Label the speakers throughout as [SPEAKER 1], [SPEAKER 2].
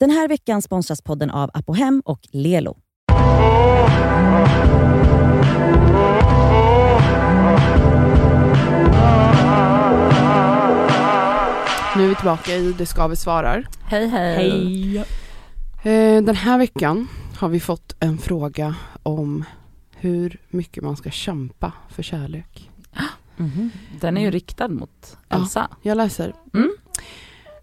[SPEAKER 1] Den här veckan sponsras podden av Apohem och Lelo.
[SPEAKER 2] Nu är vi tillbaka i Det ska vi svarar.
[SPEAKER 3] Hej hej.
[SPEAKER 2] Eh, Den här veckan har vi fått en fråga om hur mycket man ska kämpa för kärlek.
[SPEAKER 1] Mhm.
[SPEAKER 3] Den är
[SPEAKER 1] Mm.
[SPEAKER 3] ju riktad mot Elsa.
[SPEAKER 2] Jag läser.
[SPEAKER 3] Mm.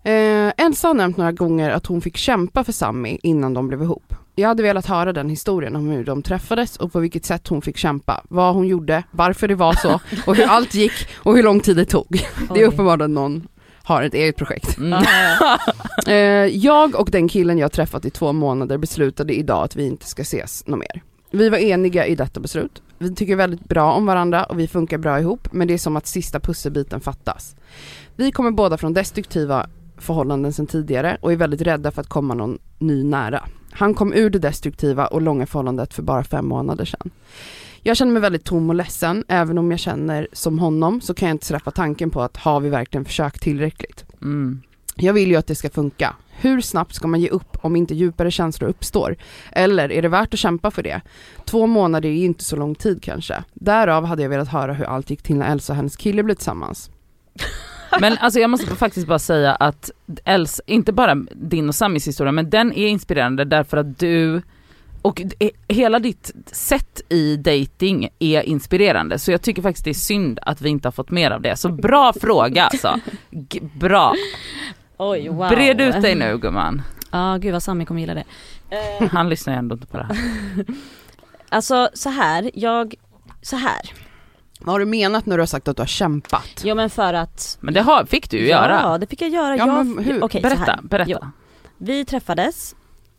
[SPEAKER 2] Eh, Elsa har nämnt några gånger att hon fick kämpa för Sammy innan de blev ihop. Jag hade velat höra den historien om hur de träffades och på vilket sätt hon fick kämpa, vad hon gjorde, varför det var så och hur allt gick och hur lång tid det tog. Det är uppenbart att någon har ett eget projekt.
[SPEAKER 3] Mm.
[SPEAKER 2] Eh, jag och den killen jag träffat i två månader beslutade idag att vi inte ska ses något mer. Vi var eniga i detta beslut. Vi tycker väldigt bra om varandra och vi funkar bra ihop men det är som att sista pusselbiten fattas. Vi kommer båda från destruktiva förhållanden sedan tidigare och är väldigt rädda för att komma någon ny nära. Han kom ur det destruktiva och långa förhållandet för bara fem månader sedan. Jag känner mig väldigt tom och ledsen, även om jag känner som honom så kan jag inte släppa tanken på att har vi verkligen försökt tillräckligt?
[SPEAKER 3] Mm.
[SPEAKER 2] Jag vill ju att det ska funka. Hur snabbt ska man ge upp om inte djupare känslor uppstår? Eller är det värt att kämpa för det? Två månader är ju inte så lång tid kanske. Därav hade jag velat höra hur allt gick till när Elsa och hennes kille blev tillsammans.
[SPEAKER 3] Men alltså jag måste faktiskt bara säga att Els, inte bara din och Samis historia, men den är inspirerande därför att du och d- e, hela ditt sätt i dating är inspirerande. Så jag tycker faktiskt det är synd att vi inte har fått mer av det. Så bra fråga alltså. G- bra.
[SPEAKER 1] Oj, wow.
[SPEAKER 3] Bred ut dig nu gumman.
[SPEAKER 1] Ja, gud vad Sami kommer gilla det.
[SPEAKER 3] Han lyssnar ju ändå inte på det här.
[SPEAKER 1] Alltså så här, jag, så här.
[SPEAKER 2] Vad har du menat när du har sagt att du har kämpat?
[SPEAKER 1] Jo men för att
[SPEAKER 3] Men det har, fick du ju göra.
[SPEAKER 1] Ja det fick jag göra.
[SPEAKER 2] Ja,
[SPEAKER 1] jag,
[SPEAKER 2] men hur?
[SPEAKER 1] Okej, så här.
[SPEAKER 3] Berätta,
[SPEAKER 1] Jo.
[SPEAKER 3] berätta.
[SPEAKER 1] Vi träffades,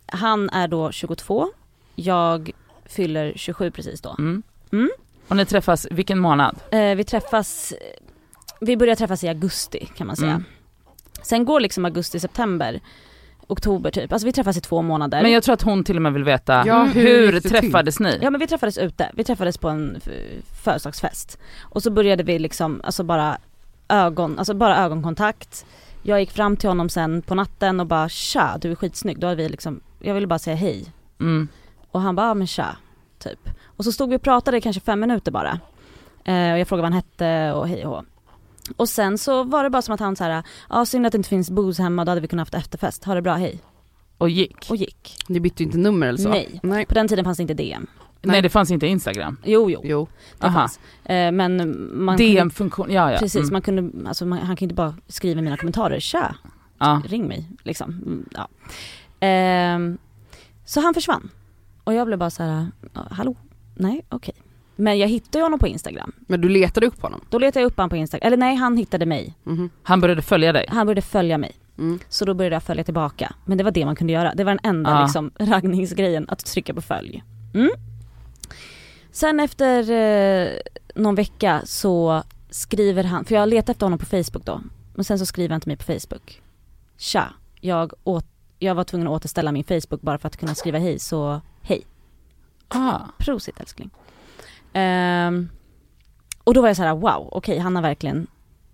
[SPEAKER 1] han är då 22, jag fyller 27 precis då.
[SPEAKER 3] Mm.
[SPEAKER 1] Mm.
[SPEAKER 3] Och ni träffas, vilken månad?
[SPEAKER 1] Eh, vi träffas, vi börjar träffas i augusti kan man säga.
[SPEAKER 3] Mm.
[SPEAKER 1] Sen går liksom augusti, september, oktober typ. Alltså vi träffas i två månader.
[SPEAKER 3] Men jag tror att hon till och med vill veta,
[SPEAKER 2] Ja,
[SPEAKER 3] hur,
[SPEAKER 2] hur gick det till?
[SPEAKER 3] träffades ni?
[SPEAKER 1] Ja men vi träffades ute, vi träffades på en f- födelsedagsfest. Och så började vi liksom, alltså bara ögon, alltså bara ögonkontakt. Jag gick fram till honom sen på natten och bara tja du är skitsnygg. Då hade vi liksom, jag ville bara säga hej.
[SPEAKER 3] Mm.
[SPEAKER 1] Och han bara, "Ja, men tja, typ. Och så stod vi och pratade i kanske fem minuter bara. Eh, och jag frågade vad han hette och hej och hå. Och sen så var det bara som att han såhär, ja synd att det inte finns booze hemma, då hade vi kunnat haft efterfest, ha det bra, hej.
[SPEAKER 3] Och gick?
[SPEAKER 1] Och gick.
[SPEAKER 2] Ni bytte ju inte nummer eller så?
[SPEAKER 1] Nej.
[SPEAKER 2] Nej.
[SPEAKER 1] På den tiden fanns det inte DM.
[SPEAKER 3] nej.
[SPEAKER 2] Nej.
[SPEAKER 3] det fanns inte Instagram.
[SPEAKER 1] Jo jo,
[SPEAKER 2] Jo.
[SPEAKER 1] det
[SPEAKER 3] Aha.
[SPEAKER 1] fanns. Eh, men man kunde,
[SPEAKER 3] DM-funktion, ja Mm. ja.
[SPEAKER 1] precis, man kunde, alltså man, han kunde inte bara skriva i mina kommentarer, tja,
[SPEAKER 3] ja.
[SPEAKER 1] ring mig liksom. Mm, Ja. Ehm, så han försvann. Och jag blev bara så här, hallå, nej okej. Men jag hittade ju honom på Instagram.
[SPEAKER 2] Men du letade upp honom?
[SPEAKER 1] Då letade jag upp honom på Instagram, eller nej han hittade mig.
[SPEAKER 2] Mhm.
[SPEAKER 3] Han började följa dig.
[SPEAKER 1] Han började följa mig.
[SPEAKER 2] Mm.
[SPEAKER 1] Så då började jag följa tillbaka. Men det var det man kunde göra. Det var den enda
[SPEAKER 3] Ja.
[SPEAKER 1] liksom, raggningsgrejen, att trycka på följ. Mm. Sen efter eh, någon vecka så skriver han, för jag letade efter honom på Facebook då. Men sen så skriver han till mig på Facebook. Tja, jag, åt, jag var tvungen att återställa min Facebook bara för att kunna skriva hej så hej.
[SPEAKER 3] Ah.
[SPEAKER 1] Prosit älskling. Ehm, och då var jag så här: wow, okej han har verkligen,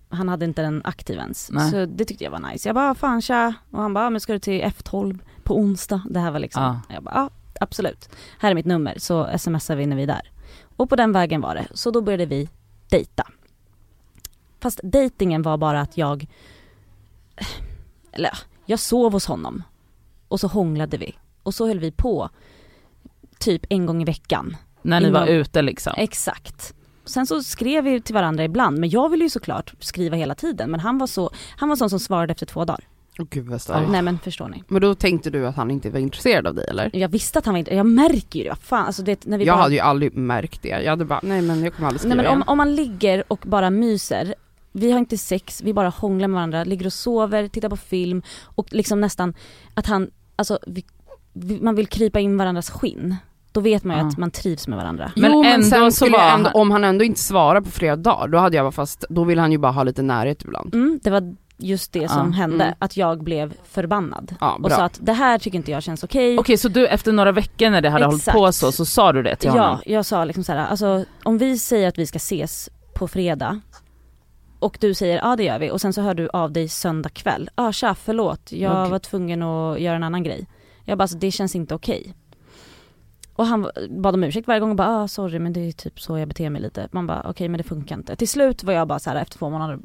[SPEAKER 1] han hade inte den aktiv ens.
[SPEAKER 3] Nej.
[SPEAKER 1] Så det tyckte jag var nice. Jag bara, fan tja. Och han bara, men ska du till F12 på onsdag? Det här var liksom,
[SPEAKER 3] Ja.
[SPEAKER 1] jag bara, ja absolut. Här är mitt nummer så smsar vi när vi är där. Och på den vägen var det. Så då började vi dejta. Fast dejtingen var bara att jag, eller ja, jag sov hos honom. Och så hånglade vi. Och så höll vi på typ en gång i veckan.
[SPEAKER 3] När ni
[SPEAKER 1] Innan-
[SPEAKER 3] var ute liksom.
[SPEAKER 1] Exakt. Sen så skrev vi till varandra ibland men jag ville ju såklart skriva hela tiden men han var så, han var sån som svarade efter två dagar.
[SPEAKER 2] Åh gud vad starkt.
[SPEAKER 1] Nej men förstår ni.
[SPEAKER 2] Men då tänkte du att han inte var intresserad av dig eller?
[SPEAKER 1] Jag visste att han var inte, jag märker ju det, vad fan alltså det, när vi
[SPEAKER 2] Jag
[SPEAKER 1] bara,
[SPEAKER 2] hade ju aldrig märkt det. Jag hade bara, nej men jag kommer aldrig skriva
[SPEAKER 1] Nej men om,
[SPEAKER 2] igen.
[SPEAKER 1] om man ligger och bara myser, vi har inte sex, vi bara hånglar med varandra, ligger och sover, tittar på film och liksom nästan att han, alltså vi, vi, man vill krypa in varandras skinn. Då vet man ju
[SPEAKER 3] Ja.
[SPEAKER 1] att man trivs med varandra.
[SPEAKER 3] Men
[SPEAKER 2] jo,
[SPEAKER 3] ändå
[SPEAKER 2] men
[SPEAKER 3] så
[SPEAKER 2] sen skulle
[SPEAKER 3] var
[SPEAKER 2] jag ändå,
[SPEAKER 3] han-
[SPEAKER 2] om han ändå inte svarar på flera dagar, då hade jag bara fast, då vill han ju bara ha lite närhet ibland.
[SPEAKER 1] Mm, det var just det som
[SPEAKER 3] Ja,
[SPEAKER 1] hände,
[SPEAKER 2] mm.
[SPEAKER 1] att jag blev förbannad.
[SPEAKER 2] Ja,
[SPEAKER 1] och
[SPEAKER 2] bra.
[SPEAKER 1] sa att det här tycker inte jag känns okej.
[SPEAKER 3] Okej så du efter några veckor när det hade
[SPEAKER 1] Exakt.
[SPEAKER 3] hållit på så, så sa du det till
[SPEAKER 1] Ja,
[SPEAKER 3] honom?
[SPEAKER 1] jag sa liksom så här, alltså om vi säger att vi ska ses på fredag och du säger ja det gör vi och sen så hör du av dig söndag kväll. Ja ah, tja förlåt jag
[SPEAKER 2] Okej.
[SPEAKER 1] var tvungen att göra en annan grej. Jag bara alltså, det känns inte okej. Och han bad om ursäkt varje gång och bara ah, sorry men det är typ så jag beter mig lite. Man bara okej men det funkar inte. Till slut var jag bara så här efter två månader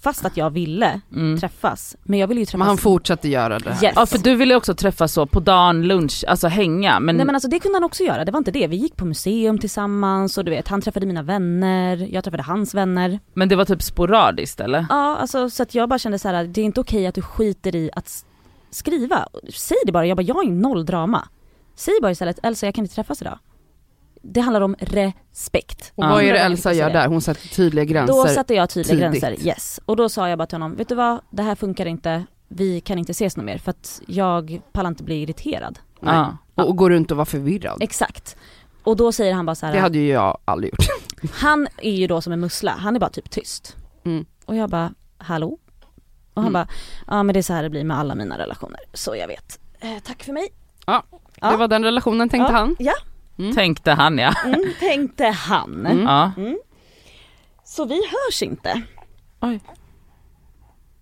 [SPEAKER 1] fast att jag ville
[SPEAKER 3] Mm.
[SPEAKER 1] träffas men jag ville ju träffas.
[SPEAKER 2] Men han fortsatte göra det här.
[SPEAKER 1] Yes.
[SPEAKER 3] Ja för du ville också träffas så på dagen, lunch, alltså hänga men,
[SPEAKER 1] Nej men alltså det kunde han också göra, det var inte det. Vi gick på museum tillsammans och du vet han träffade mina vänner, jag träffade hans vänner.
[SPEAKER 3] men det var typ sporadiskt eller?
[SPEAKER 1] Ja alltså så att jag bara kände så här: det är inte okej att du skiter i att s- skriva. Säg det bara, jag bara jag har ju noll drama. Säg bara istället Elsa jag kan inte träffas idag. Det handlar om respekt.
[SPEAKER 2] Och vad är det
[SPEAKER 1] Ja.
[SPEAKER 2] Elsa gör där? Hon sätter tydliga gränser.
[SPEAKER 1] Då satte jag tydliga
[SPEAKER 2] tidigt.
[SPEAKER 1] gränser, yes. Och då sa jag bara till honom, vet du vad, det här funkar inte, vi kan inte ses något mer för att jag pallar inte bli irriterad.
[SPEAKER 2] Nej.
[SPEAKER 3] Ja.
[SPEAKER 2] och, och går runt och var förvirrad.
[SPEAKER 1] Exakt. Och då säger han bara så här.
[SPEAKER 2] Det hade ju jag aldrig gjort.
[SPEAKER 1] Han är ju då som en mussla, han är bara typ tyst.
[SPEAKER 2] Mm.
[SPEAKER 1] Och jag bara, hallå? Och han
[SPEAKER 2] Mm.
[SPEAKER 1] bara, ja men det är så här det blir med alla mina relationer, så jag vet. Eh, tack för mig. Ja.
[SPEAKER 2] Det var den relationen tänkte
[SPEAKER 1] ja,
[SPEAKER 2] han.
[SPEAKER 1] Ja,
[SPEAKER 2] Mm.
[SPEAKER 3] Tänkte han ja.
[SPEAKER 1] mm, tänkte han.
[SPEAKER 2] Mm.
[SPEAKER 3] ja.
[SPEAKER 1] Så vi hörs inte.
[SPEAKER 3] Oj.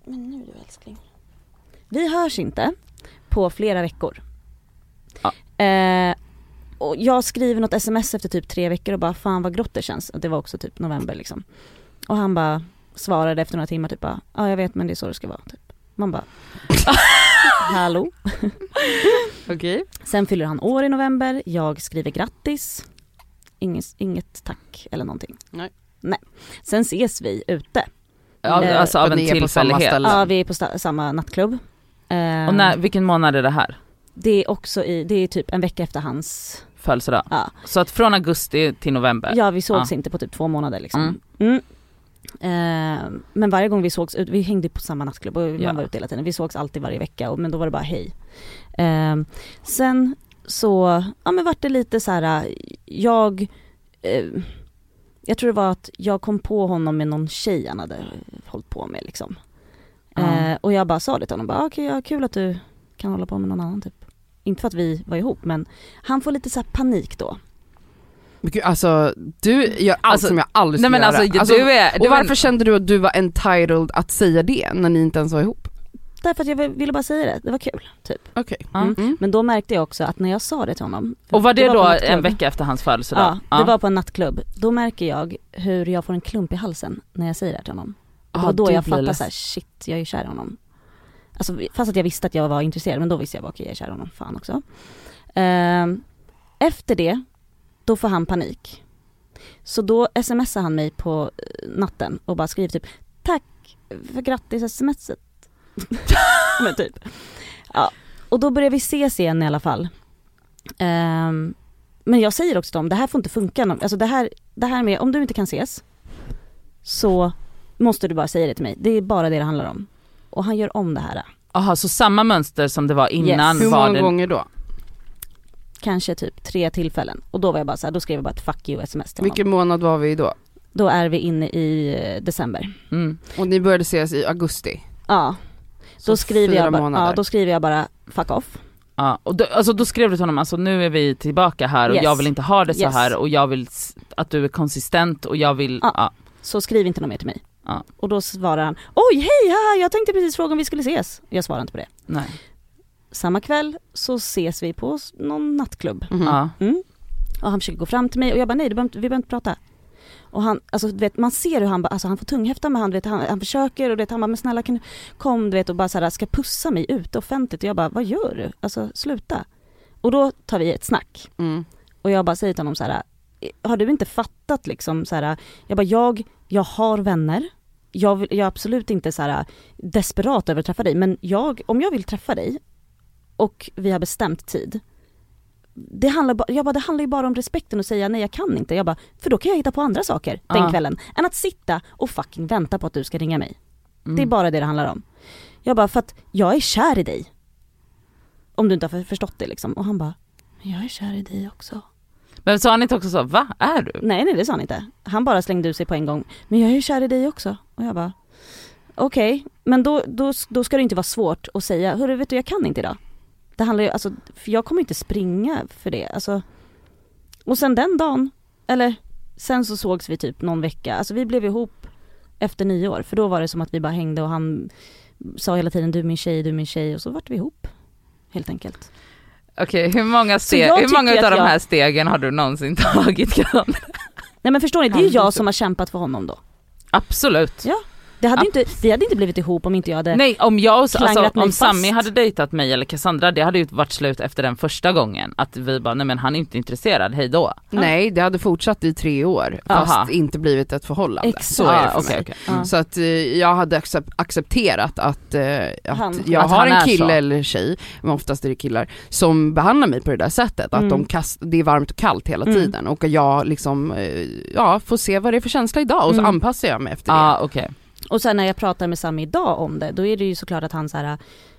[SPEAKER 1] Men nu du älskling. Vi hörs inte på flera veckor. Eh, och jag skriver något sms efter typ tre veckor och bara fan vad grått det känns. Och Det var också typ november liksom. Och han bara svarade efter några timmar typ bara ja jag vet men det är så det ska vara. Typ. Man bara hallå.
[SPEAKER 2] Okej.
[SPEAKER 1] Sen fyller han år i november, jag skriver grattis. Inget, inget tack eller någonting.
[SPEAKER 2] Nej.
[SPEAKER 1] Nej. Sen ses vi ute. Mm.
[SPEAKER 3] Ja, Alltså av
[SPEAKER 2] För
[SPEAKER 3] en
[SPEAKER 2] ni är på samma
[SPEAKER 3] tillfällighet.
[SPEAKER 2] ställe.
[SPEAKER 1] Ja vi är på sta- samma nattklubb. Eh,
[SPEAKER 3] Och när, vilken månad är det här?
[SPEAKER 1] Det är också i, det är typ en vecka efter hans,
[SPEAKER 3] Födelsedag?
[SPEAKER 1] Ja.
[SPEAKER 3] Så att från augusti till november?
[SPEAKER 1] ja vi sågs inte på typ två månader liksom.
[SPEAKER 3] Mm.
[SPEAKER 1] Mm. Eh, men varje gång vi sågs, ut- vi hängde på samma nattklubb och man
[SPEAKER 3] Ja.
[SPEAKER 1] var ute hela tiden. Vi sågs alltid varje vecka och, men då var det bara hej. Eh, sen så, ja men vart det lite så här. eh, jag, eh, jag tror det var att jag kom på honom med någon tjej han hade hållit på med liksom.
[SPEAKER 3] Ja.
[SPEAKER 1] Eh, och jag bara sa det till honom, bara, "Ah, okej ja, kul att du kan hålla på med någon annan typ. Inte för att vi var ihop men han får lite så här panik då.
[SPEAKER 2] Men gud, Alltså du gör allt
[SPEAKER 3] Alltså,
[SPEAKER 2] som jag aldrig
[SPEAKER 3] Nej
[SPEAKER 2] skulle
[SPEAKER 3] men
[SPEAKER 2] göra.
[SPEAKER 3] alltså, du är... Du
[SPEAKER 2] och varför
[SPEAKER 3] Var,
[SPEAKER 2] kände du att du var entitled att säga det när ni inte ens var ihop?
[SPEAKER 1] Därför att jag ville bara säga det, det var kul typ.
[SPEAKER 2] Okej.
[SPEAKER 3] Ja.
[SPEAKER 2] Mm.
[SPEAKER 1] Men då märkte jag också att när jag sa det till honom.
[SPEAKER 3] och var det,
[SPEAKER 1] på
[SPEAKER 3] då
[SPEAKER 1] nattklubb.
[SPEAKER 3] en vecka efter hans födelsedag?
[SPEAKER 1] Ja, det var på en nattklubb. Då märker jag hur jag får en klump i halsen när jag säger det här till honom. Det var
[SPEAKER 3] Ah,
[SPEAKER 1] då
[SPEAKER 3] du
[SPEAKER 1] jag
[SPEAKER 3] blir
[SPEAKER 1] fattade
[SPEAKER 3] leds-
[SPEAKER 1] så här, shit jag är ju kär i honom. Alltså, fast att jag visste att jag var intresserad men då visste jag bara okej jag är kär i honom, fan också. Ehm, efter det, då får han panik. Så då smsar han mig på eh, natten och bara skriver typ tack för grattis smset. men typ. Ja. Och då börjar vi ses igen i alla fall. Ehm, men jag säger också till dem, det här får inte funka. Alltså det här, det här med, om du inte kan ses så måste du bara säga det till mig. Det är bara det det handlar om. Och han gör om det här.
[SPEAKER 3] Aha, så samma mönster som det var innan
[SPEAKER 2] Hur
[SPEAKER 3] var
[SPEAKER 2] många
[SPEAKER 3] det...
[SPEAKER 2] gånger då?
[SPEAKER 1] Kanske typ tre tillfällen. Och då var jag bara så här, då skrev jag bara ett fuck you sms till honom.
[SPEAKER 2] Vilken månad var vi i då?
[SPEAKER 1] Då är vi inne i eh, december.
[SPEAKER 3] Mm.
[SPEAKER 2] Och ni började ses i augusti?
[SPEAKER 1] Ja,
[SPEAKER 2] Så
[SPEAKER 1] då skriver,
[SPEAKER 2] fyra
[SPEAKER 1] jag bara,
[SPEAKER 2] månader.
[SPEAKER 1] ja, då skriver jag bara fuck off.
[SPEAKER 3] Ja, och då, alltså då skrev du till honom, alltså nu är vi tillbaka här och
[SPEAKER 1] Yes.
[SPEAKER 3] jag vill inte ha det så
[SPEAKER 1] Yes.
[SPEAKER 3] här och jag vill s- att du är konsistent och jag vill,
[SPEAKER 1] Ja.
[SPEAKER 3] ja.
[SPEAKER 1] Så skriv inte något mer till mig.
[SPEAKER 3] Ja.
[SPEAKER 1] Och då svarar han, oj hej, haha, jag tänkte precis fråga om vi skulle ses. Jag svarar inte på det.
[SPEAKER 3] nej.
[SPEAKER 1] Samma kväll så ses vi på s- någon nattklubb.
[SPEAKER 2] Mhm.
[SPEAKER 3] Ja.
[SPEAKER 1] Mm. Och han försöker gå fram till mig och jag bara nej, du behöver inte, vi behöver inte prata. Och han, alltså du vet man ser hur han bara, alltså han får tunghäfta med han, du vet, han, han försöker och du vet, han bara men snälla kan du, kom du vet och bara så här, ska pussa mig ute offentligt och jag bara vad gör du? Alltså sluta. Och då tar vi ett snack
[SPEAKER 2] Mm.
[SPEAKER 1] och jag bara säger till honom så här, har du inte fattat liksom så här, jag bara jag, jag har vänner, jag, vill, jag är absolut inte så här desperat över att träffa dig men jag, om jag vill träffa dig och vi har bestämt tid, det handlar, ba- jag bara, det handlar ju bara om respekten att säga nej jag kan inte, jag bara, för då kan jag hitta på andra saker den
[SPEAKER 3] Ah.
[SPEAKER 1] kvällen än att sitta och fucking vänta på att du ska ringa mig.
[SPEAKER 3] Mm.
[SPEAKER 1] Det är bara det det handlar om. Jag bara, för att jag är kär i dig. Om du inte har för- förstått det liksom. Och han bara, men jag är kär i dig också.
[SPEAKER 3] Men sa han inte också så, va är du?
[SPEAKER 1] Nej nej det sa han inte. Han bara slängde ut sig på en gång. Men jag är ju kär i dig också. Och jag bara okej, men då, då, då ska det inte vara svårt att säga, hörru vet du jag kan inte idag. Det handlar ju, alltså för jag kommer inte springa för det. Alltså. Och sen den dagen, eller sen så sågs vi typ någon vecka, alltså vi blev ihop efter nyår. För då var det som att vi bara hängde och han sa hela tiden du är min tjej, du är min tjej och så vart vi ihop. Helt enkelt.
[SPEAKER 3] Okej, hur många, steg,
[SPEAKER 1] jag
[SPEAKER 3] hur många
[SPEAKER 1] tycker
[SPEAKER 3] utav
[SPEAKER 1] att
[SPEAKER 3] de
[SPEAKER 1] jag-
[SPEAKER 3] här stegen har du någonsin tagit Karin?
[SPEAKER 1] Nej men förstår ni, det är ju
[SPEAKER 2] Kan du
[SPEAKER 1] jag
[SPEAKER 2] inte-
[SPEAKER 1] som har kämpat för honom då.
[SPEAKER 3] Absolut.
[SPEAKER 1] Det hade
[SPEAKER 3] Ja.
[SPEAKER 1] ju inte, vi hade inte blivit ihop om inte jag hade,
[SPEAKER 3] Nej om jag, och- alltså,
[SPEAKER 1] klangrat mig
[SPEAKER 3] om Sammy
[SPEAKER 1] fast.
[SPEAKER 3] hade dejtat mig eller Cassandra, det hade ju varit slut efter den första gången. Att vi bara, nej men han är inte intresserad, hej då.
[SPEAKER 2] Nej, det hade fortsatt i tre år fast
[SPEAKER 3] Aha.
[SPEAKER 2] inte blivit ett förhållande.
[SPEAKER 1] Exakt.
[SPEAKER 2] Så är det för
[SPEAKER 3] Ah, okej,
[SPEAKER 2] mig.
[SPEAKER 3] okej. Mm.
[SPEAKER 1] Ja.
[SPEAKER 2] Så att eh, jag hade accep- accepterat att, eh, att
[SPEAKER 1] Han-
[SPEAKER 2] jag
[SPEAKER 3] att
[SPEAKER 2] har
[SPEAKER 3] han
[SPEAKER 2] en
[SPEAKER 3] är
[SPEAKER 2] kille
[SPEAKER 3] så.
[SPEAKER 2] eller tjej, men oftast är det killar, som behandlar mig på det där sättet. Att
[SPEAKER 1] Mm.
[SPEAKER 2] de kast, det är varmt och kallt hela
[SPEAKER 1] Mm.
[SPEAKER 2] tiden och jag liksom, eh, ja, får se vad det är för känsla idag och så
[SPEAKER 1] Mm.
[SPEAKER 2] anpassar jag mig efter
[SPEAKER 3] Ja
[SPEAKER 2] det.
[SPEAKER 3] Ah, okej.
[SPEAKER 1] och sen när jag pratar med Sami idag om det, då är det ju såklart att han så här,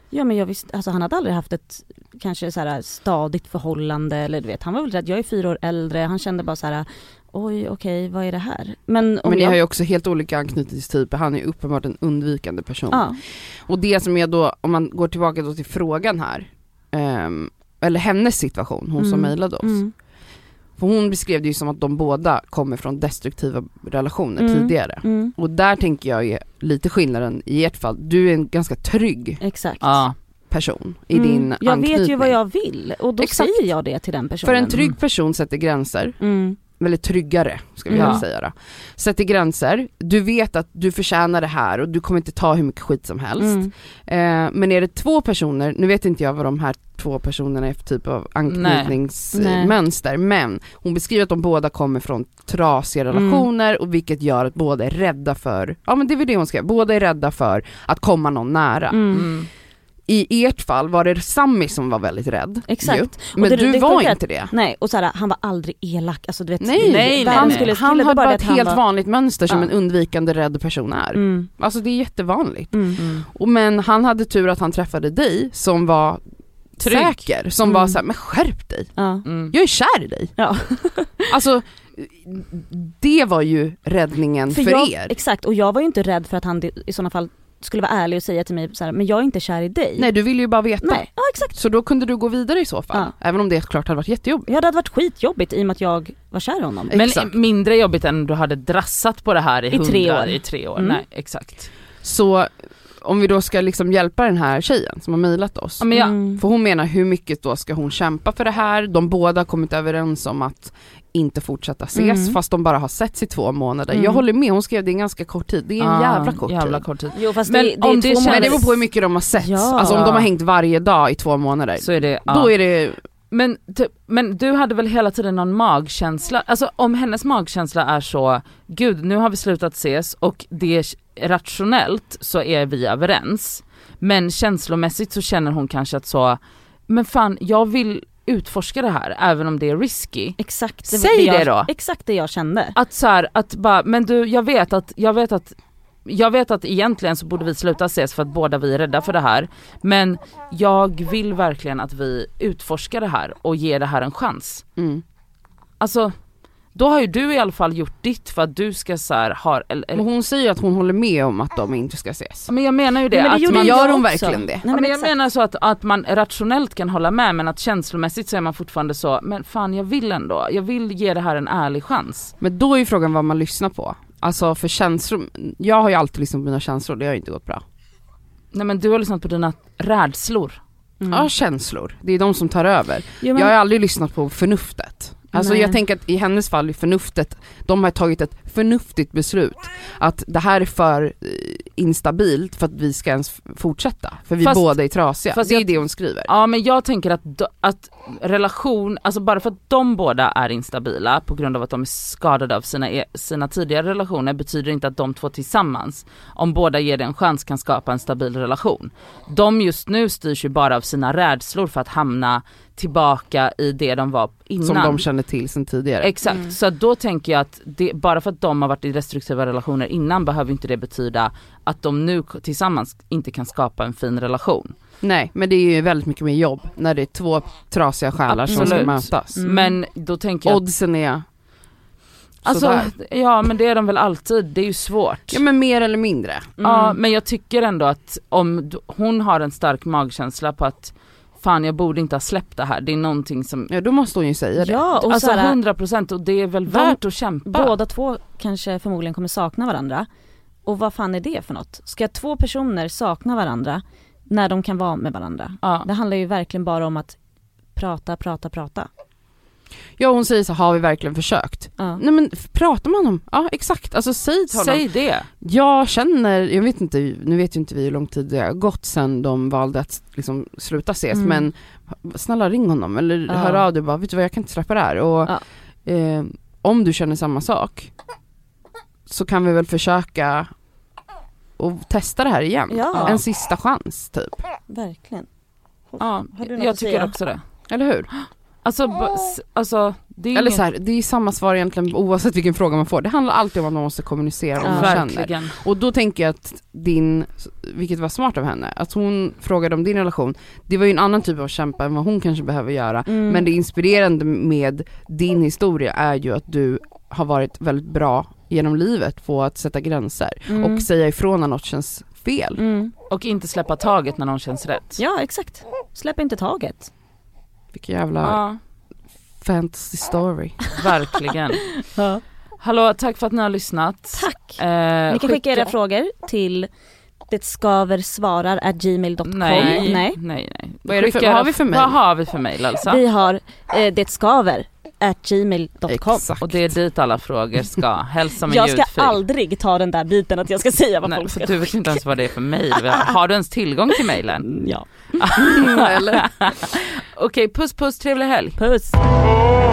[SPEAKER 1] ja men jag visste, alltså han hade aldrig haft ett kanske så här stadigt förhållande eller du vet, han var väl rädd, jag är fyra år äldre, han kände bara så här, oj okej vad är det här? Men om
[SPEAKER 2] Men ni
[SPEAKER 1] jag,
[SPEAKER 2] har ju också helt olika anknytningstyper, han är ju uppenbart en undvikande person.
[SPEAKER 1] ja,
[SPEAKER 2] Och det som är då, om man går tillbaka då till frågan här, ehm, eller hennes situation, hon som
[SPEAKER 1] Mm.
[SPEAKER 2] mejlade oss.
[SPEAKER 1] mm.
[SPEAKER 2] För hon beskrev det ju som att de båda kommer från destruktiva relationer
[SPEAKER 1] Mm.
[SPEAKER 2] tidigare.
[SPEAKER 1] Mm,
[SPEAKER 2] Och där tänker jag är lite skillnaden i ert fall. Du är en ganska trygg
[SPEAKER 1] exakt.
[SPEAKER 3] Ja.
[SPEAKER 2] person i
[SPEAKER 1] Mm,
[SPEAKER 2] din
[SPEAKER 1] Jag
[SPEAKER 2] anknytning.
[SPEAKER 1] vet ju vad jag vill och då
[SPEAKER 2] Exakt.
[SPEAKER 1] säger jag det till den
[SPEAKER 2] För
[SPEAKER 1] personen.
[SPEAKER 2] en trygg person sätter gränser,
[SPEAKER 1] Mm.
[SPEAKER 2] väldigt tryggare ska vi
[SPEAKER 1] Mm.
[SPEAKER 2] väl säga då. Sätter gränser, du vet att du förtjänar det här och du kommer inte ta hur mycket skit som helst.
[SPEAKER 1] Mm.
[SPEAKER 2] Eh, men är det två personer, nu vet inte jag vad de här två personerna är för typ av
[SPEAKER 1] Nej.
[SPEAKER 2] anknytningsmönster, men hon beskriver att de båda kommer från trasiga
[SPEAKER 1] Mm.
[SPEAKER 2] relationer och vilket gör att båda är rädda för, ja men det är väl det hon skrev, båda är rädda för att komma någon nära.
[SPEAKER 1] Mm.
[SPEAKER 3] Mm.
[SPEAKER 2] I ert fall var det Sammy som var väldigt rädd.
[SPEAKER 1] Exakt.
[SPEAKER 2] Ju. Men
[SPEAKER 1] Och det-
[SPEAKER 2] du
[SPEAKER 1] det
[SPEAKER 2] var
[SPEAKER 1] sjuka är att-
[SPEAKER 2] inte det.
[SPEAKER 1] Nej och såhär, han var aldrig elak, alltså du vet
[SPEAKER 2] Nej,
[SPEAKER 3] nej, nej.
[SPEAKER 1] han
[SPEAKER 2] Han,
[SPEAKER 1] skulle
[SPEAKER 2] han
[SPEAKER 1] det var
[SPEAKER 2] hade bara
[SPEAKER 1] det
[SPEAKER 2] ett
[SPEAKER 1] att han
[SPEAKER 2] helt
[SPEAKER 1] var-
[SPEAKER 2] vanligt mönster som
[SPEAKER 1] Ja.
[SPEAKER 2] en undvikande rädd person är.
[SPEAKER 1] Mm.
[SPEAKER 2] Alltså det är jättevanligt.
[SPEAKER 1] Mm.
[SPEAKER 3] Mm.
[SPEAKER 2] Och men han hade tur att han träffade dig som var
[SPEAKER 3] Trygg.
[SPEAKER 2] säker, som
[SPEAKER 1] Mm.
[SPEAKER 2] var såhär, men skärp dig,
[SPEAKER 1] Ja.
[SPEAKER 3] Mm.
[SPEAKER 2] jag är kär i dig.
[SPEAKER 1] Ja.
[SPEAKER 2] Alltså det var ju räddningen för,
[SPEAKER 1] jag,
[SPEAKER 2] er.
[SPEAKER 1] Exakt, och jag var ju inte rädd för att han i sådana fall skulle vara ärlig och säga till mig så här, men jag är inte kär i dig.
[SPEAKER 2] Nej du ville ju bara veta.
[SPEAKER 1] Nej, ja exakt.
[SPEAKER 2] Så då kunde du gå vidare i så fall, även om det klart hade varit jättejobbigt.
[SPEAKER 1] Ja, det hade varit skitjobbigt i och med att jag var kär i honom.
[SPEAKER 2] Ex-
[SPEAKER 3] Men
[SPEAKER 2] Exakt.
[SPEAKER 3] mindre jobbigt än om du hade drassat på det här i,
[SPEAKER 1] I tre
[SPEAKER 3] hundra-
[SPEAKER 1] år.
[SPEAKER 3] I tre år.
[SPEAKER 1] Mm.
[SPEAKER 3] Nej exakt.
[SPEAKER 2] Så om vi då ska liksom hjälpa den här tjejen som har mejlat oss.
[SPEAKER 3] Ja, men jag,
[SPEAKER 1] Mm.
[SPEAKER 2] För hon menar hur mycket då ska hon kämpa för det här? De båda har kommit överens om att inte fortsätta ses
[SPEAKER 1] Mm.
[SPEAKER 2] fast de bara har setts i två månader.
[SPEAKER 1] Mm.
[SPEAKER 2] Jag håller med, hon skrev det är en ganska kort tid. Det är en
[SPEAKER 3] Ah,
[SPEAKER 2] jävla kort
[SPEAKER 3] jävla
[SPEAKER 2] tid.
[SPEAKER 3] kort tid.
[SPEAKER 1] Jo fast
[SPEAKER 3] Men
[SPEAKER 1] det, det
[SPEAKER 3] om
[SPEAKER 1] är
[SPEAKER 3] det
[SPEAKER 1] två
[SPEAKER 3] känns-
[SPEAKER 1] månader.
[SPEAKER 2] Men det beror på hur mycket de har setts.
[SPEAKER 1] Ja.
[SPEAKER 2] Alltså om de har hängt varje dag i två månader,
[SPEAKER 3] Så är det, ja.
[SPEAKER 2] då är det...
[SPEAKER 3] Men, typ, men du hade väl hela tiden någon magkänsla? Alltså om hennes magkänsla är så, gud nu har vi slutat ses och det är rationellt så är vi överens. Men känslomässigt så känner hon kanske att så, men fan jag vill utforska det här även om det är risky.
[SPEAKER 1] Exakt det,
[SPEAKER 3] Säg
[SPEAKER 1] jag,
[SPEAKER 3] det då.
[SPEAKER 1] Exakt det jag kände.
[SPEAKER 3] Att så här, att bara, men du jag vet att, jag vet att jag vet att egentligen så borde vi sluta ses för att båda vi är rädda för det här. Men jag vill verkligen att vi utforskar det här och ger det här en chans.
[SPEAKER 2] Mm.
[SPEAKER 3] alltså då har ju du i alla fall gjort ditt för att du ska så här, ha, eller,
[SPEAKER 2] Men
[SPEAKER 3] eller,
[SPEAKER 2] hon säger att hon håller med om att de inte ska ses.
[SPEAKER 3] men jag menar ju det,
[SPEAKER 1] Nej, men det
[SPEAKER 3] att
[SPEAKER 1] gjorde
[SPEAKER 3] man,
[SPEAKER 1] jag
[SPEAKER 2] gör hon
[SPEAKER 1] också.
[SPEAKER 2] verkligen det?
[SPEAKER 1] Nej,
[SPEAKER 3] ja,
[SPEAKER 1] men
[SPEAKER 3] men jag
[SPEAKER 1] exakt.
[SPEAKER 3] menar så att, att man rationellt kan hålla med men att känslomässigt så är man fortfarande så, men fan jag vill ändå, jag vill ge det här en ärlig chans.
[SPEAKER 2] Men då är ju frågan vad man lyssnar på. Alltså för känslor, jag har ju alltid lyssnat på mina känslor, det har ju inte gått bra.
[SPEAKER 3] Nej men du har lyssnat på dina rädslor.
[SPEAKER 1] Mm.
[SPEAKER 2] Ja känslor, det är de som tar över.
[SPEAKER 1] Jo, men,
[SPEAKER 2] Jag har aldrig lyssnat på förnuftet. Alltså
[SPEAKER 1] Nej.
[SPEAKER 2] jag tänker att i hennes fall, i förnuftet, de har tagit ett förnuftigt beslut. Att det här är för eh, instabilt för att vi ska ens f- fortsätta. För vi
[SPEAKER 3] Fast-
[SPEAKER 2] båda är trasiga.
[SPEAKER 3] fast
[SPEAKER 2] det är
[SPEAKER 3] jag-
[SPEAKER 2] det hon skriver.
[SPEAKER 3] Ja men jag tänker att, d- att relation, alltså bara för att de båda är instabila på grund av att de är skadade av sina, e- sina tidigare relationer betyder inte att de två tillsammans, om båda ger det en chans, kan skapa en stabil relation. De just nu styrs ju bara av sina rädslor för att hamna tillbaka i det de var innan.
[SPEAKER 2] Som de känner till sen tidigare.
[SPEAKER 3] Exakt,
[SPEAKER 1] Mm.
[SPEAKER 3] så då tänker jag att det, bara för att de har varit i destruktiva relationer innan behöver inte det betyda att de nu k- tillsammans inte kan skapa en fin relation.
[SPEAKER 2] Nej men det är ju väldigt mycket mer jobb när det är två trasiga själar som ska
[SPEAKER 3] Absolut.
[SPEAKER 2] mötas.
[SPEAKER 1] Mm.
[SPEAKER 3] Men då tänker jag att-
[SPEAKER 2] Oddsen är
[SPEAKER 3] Alltså,
[SPEAKER 2] sådär.
[SPEAKER 3] ja men det är de väl alltid, det är ju svårt.
[SPEAKER 2] Ja men mer eller mindre.
[SPEAKER 1] Mm.
[SPEAKER 3] Ja men jag tycker ändå att om d- hon har en stark magkänsla på att fan jag borde inte ha släppt det här, det är någonting som
[SPEAKER 2] Ja då måste hon ju säga det.
[SPEAKER 1] ja och
[SPEAKER 3] Alltså
[SPEAKER 1] så här,
[SPEAKER 3] 100% och det är väl
[SPEAKER 1] De-
[SPEAKER 3] värt att kämpa.
[SPEAKER 1] båda två kanske förmodligen kommer sakna varandra. Och vad fan är det för något? Ska två personer sakna varandra när de kan vara med varandra?
[SPEAKER 3] Ja.
[SPEAKER 1] Det handlar ju verkligen bara om att prata, prata, prata.
[SPEAKER 2] Ja hon säger så har vi verkligen försökt?
[SPEAKER 1] Ja.
[SPEAKER 2] Nej men f- prata med honom, ja exakt, alltså säg till honom.
[SPEAKER 3] Säg det.
[SPEAKER 2] Jag känner, jag vet inte, nu vet ju inte vi hur lång tid det har gått sedan de valde att liksom sluta ses
[SPEAKER 1] Mm.
[SPEAKER 2] men snälla ring honom eller
[SPEAKER 1] Ja.
[SPEAKER 2] hör av dig bara, vet du vad jag kan inte släppa det här och
[SPEAKER 1] Ja.
[SPEAKER 2] eh, om du känner samma sak så kan vi väl försöka och testa det här igen.
[SPEAKER 1] Ja.
[SPEAKER 2] En sista chans typ,
[SPEAKER 1] Verkligen.
[SPEAKER 3] Ja,
[SPEAKER 1] Har du något
[SPEAKER 3] jag
[SPEAKER 1] att
[SPEAKER 3] tycker
[SPEAKER 1] säga?
[SPEAKER 3] också det.
[SPEAKER 2] eller hur?
[SPEAKER 3] Alltså, ba- s- alltså det är
[SPEAKER 2] Eller
[SPEAKER 3] ingen-
[SPEAKER 2] så här, det är samma svar egentligen oavsett vilken fråga man får. Det handlar alltid om att man måste kommunicera vad
[SPEAKER 1] Ja.
[SPEAKER 2] man känner.
[SPEAKER 3] verkligen.
[SPEAKER 2] Och då tänker jag att din, vilket var smart av henne, att hon frågade om din relation. Det var ju en annan typ av kämpa än vad hon kanske behöver göra.
[SPEAKER 1] Mm.
[SPEAKER 2] Men det inspirerande med din historia är ju att du har varit väldigt bra genom livet på att sätta gränser
[SPEAKER 1] Mm.
[SPEAKER 2] och säga ifrån när något känns fel.
[SPEAKER 1] Mm.
[SPEAKER 3] Och inte släppa taget när någon känns rätt.
[SPEAKER 1] Ja exakt. Släpp inte taget.
[SPEAKER 2] Vilken jävla
[SPEAKER 3] Ja,
[SPEAKER 2] fantasy story.
[SPEAKER 3] verkligen. Hallå, tack för att ni har lyssnat.
[SPEAKER 1] Tack.
[SPEAKER 3] Eh,
[SPEAKER 1] Ni kan skicka era frågor till detskaversvarar@gmail.com.
[SPEAKER 3] Nej, nej,
[SPEAKER 1] Nej.
[SPEAKER 3] nej. nej.
[SPEAKER 2] Vad är det för-
[SPEAKER 3] Skicka
[SPEAKER 2] vad har
[SPEAKER 3] era-
[SPEAKER 2] vi för mejl?
[SPEAKER 3] Vad har vi för mejl alltså?
[SPEAKER 1] Vi har eh, detskaver@gmail.com.
[SPEAKER 2] Exakt.
[SPEAKER 3] Och det är dit alla frågor ska. Helst som en
[SPEAKER 1] Jag ska
[SPEAKER 3] ljudfil.
[SPEAKER 1] aldrig ta den där biten att jag ska säga vad
[SPEAKER 3] Nej,
[SPEAKER 1] folk ska
[SPEAKER 3] för du vet inte ens vad det är för mejl. vi har. Har du ens tillgång till mejlen?
[SPEAKER 1] Ja.
[SPEAKER 3] Eller? Okej, puss puss, trevlig helg.
[SPEAKER 1] Puss.
[SPEAKER 4] Oh